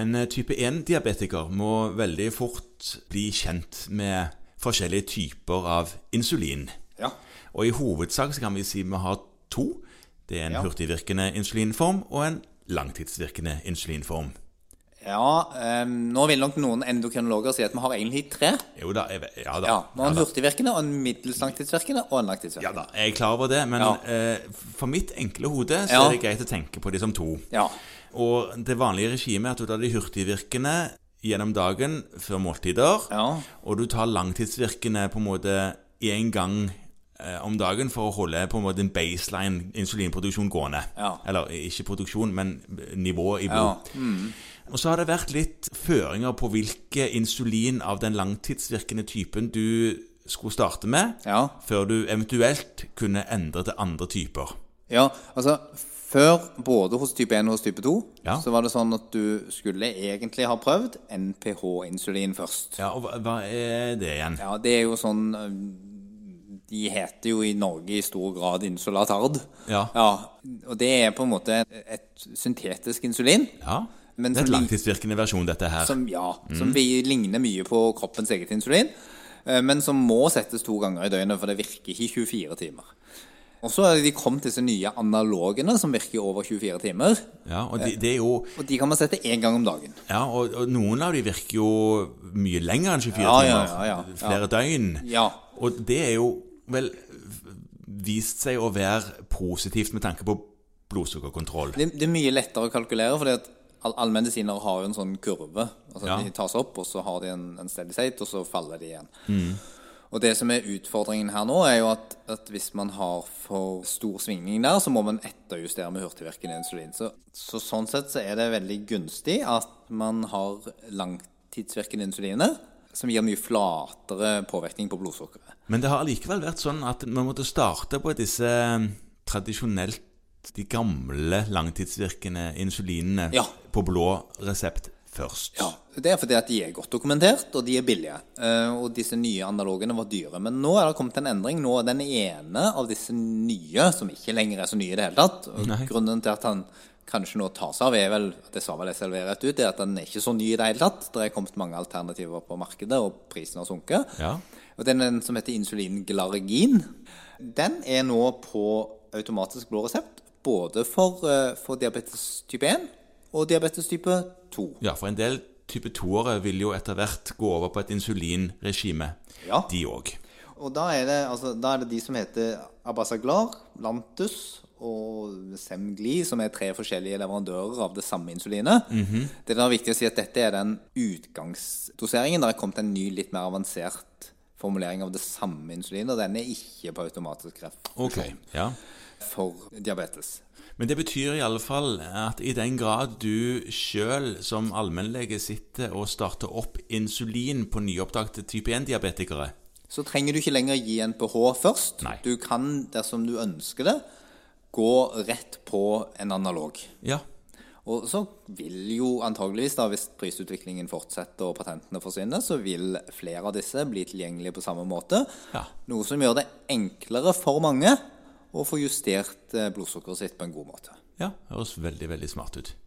En eh, type 1-diabetiker må veldig fort bli kjent med forskjellige typer av insulin. Ja. Og i hovedsak så kan vi si vi har to. Det er en Ja. hurtigvirkende insulinform og en langtidsvirkende insulinform. Ja, eh, Nå vil nok noen endokrinologer si at vi har egentlig tre. Jo da, jeg, ve- ja da. Ja, Vi har ja en da. hurtigvirkende, og en middels langtidsvirkende og en Ja langtidsvirkende. da, jeg er klar over det, men Ja. eh, for mitt enkle hode så Ja. er det greit å tenke på de som to. Ja. Og det vanlige regimet er at du tar de hurtigvirkende gjennom dagen før måltider, Ja. og du tar langtidsvirkende på en måte én gang eh, om dagen for å holde på en måte en baseline insulinproduksjon gående. Ja. Eller eh, ikke produksjon, men eh, nivå i blod. Og så har det vært litt føringer på hvilke insulin av den langtidsvirkende typen du skulle starte med, Ja. før du eventuelt kunne endre til andre typer. Ja, altså Før, både hos type 1 og hos type 2, Ja. så var det sånn at du skulle egentlig ha prøvd NPH-insulin først. Ja, og hva, hva er det igjen? Ja, det er jo sånn øhm, De heter jo i Norge i stor grad insulatard. Ja. Og det er på en måte et syntetisk insulin. Ja, Men det er et som vi- langtidsvirkende versjon dette her. Som, ja, som vi ligner mye på kroppens eget insulin, eh, men som må settes to ganger i døgnet, for det virker ikke i 24 timer. Og så er de kommet disse nye analogene som virker i over 24 timer, Ja, og de, det er jo og de kan man sette én gang om dagen. Ja, og, og noen av de virker jo mye lenger enn 24 Ja, timer. ja, ja, ja, ja. Flere døgn. Ja. Og det er jo vel vist seg å være positivt med tanke på blodsukkerkontroll. Det, det er mye lettere å kalkulere, fordi at all, allmedisiner har jo en sånn kurve. Altså Ja. De tas opp, og så har de en, en steady state, og så faller de igjen. Og det som er utfordringen her nå, er jo at, at hvis man har for stor svingning der, så må man etterjustere med hurtigvirkende insulin. Så, så sånn sett så er det veldig gunstig at man har langtidsvirkende insuliner, som gir mye flatere påvirkning på blodsukkeret. Men det har allikevel vært sånn at man måtte starte på disse eh, tradisjonelt de gamle langtidsvirkende insulinene Ja. på blå resept først. Ja, Det er fordi at de er godt dokumentert, og de er billige. Eh, Og disse nye analogene var dyre. Men nå er det kommet en endring. Nå er den ene av disse nye, som ikke lenger er så nye i det hele tatt og Nei. Grunnen til at han kanskje nå tar seg av, er vel det sa vel SLV rett ut, er at den er ikke så ny i det hele tatt. Det er kommet mange alternativer på markedet, og prisen har sunket. Ja. Og den er den som heter insulinglargin, den er nå på automatisk blå resept. Både for, eh, for diabetes type 1 og diabetes type 2. Ja, for en del type 2-ere vil jo etter hvert gå over på et insulinregime, Ja. de òg. Og da er det, altså, da er det de som heter Abasaglar, Lantus og Semgli, som er tre forskjellige leverandører av det samme insulinet. Det er da viktig å si at dette er den utgangsdoseringen. Der er kommet en ny, litt mer avansert formulering av det samme insulinet, og den er ikke på automatisk ref Ok, ja. for diabetes. Men det betyr i alle fall at i den grad du sjøl som allmennlege sitter og starter opp insulin på nyoppdagte type 1-diabetikere Så trenger du ikke lenger gi NPH først. Nei. Du kan, dersom du ønsker det, gå rett på en analog. Ja, Og så vil jo antageligvis da, hvis prisutviklingen fortsetter og patentene forsvinner, så vil flere av disse bli tilgjengelige på samme måte. Ja. Noe som gjør det enklere for mange å få justert eh, blodsukkeret sitt på en god måte. ja høres veldig, veldig smart ut.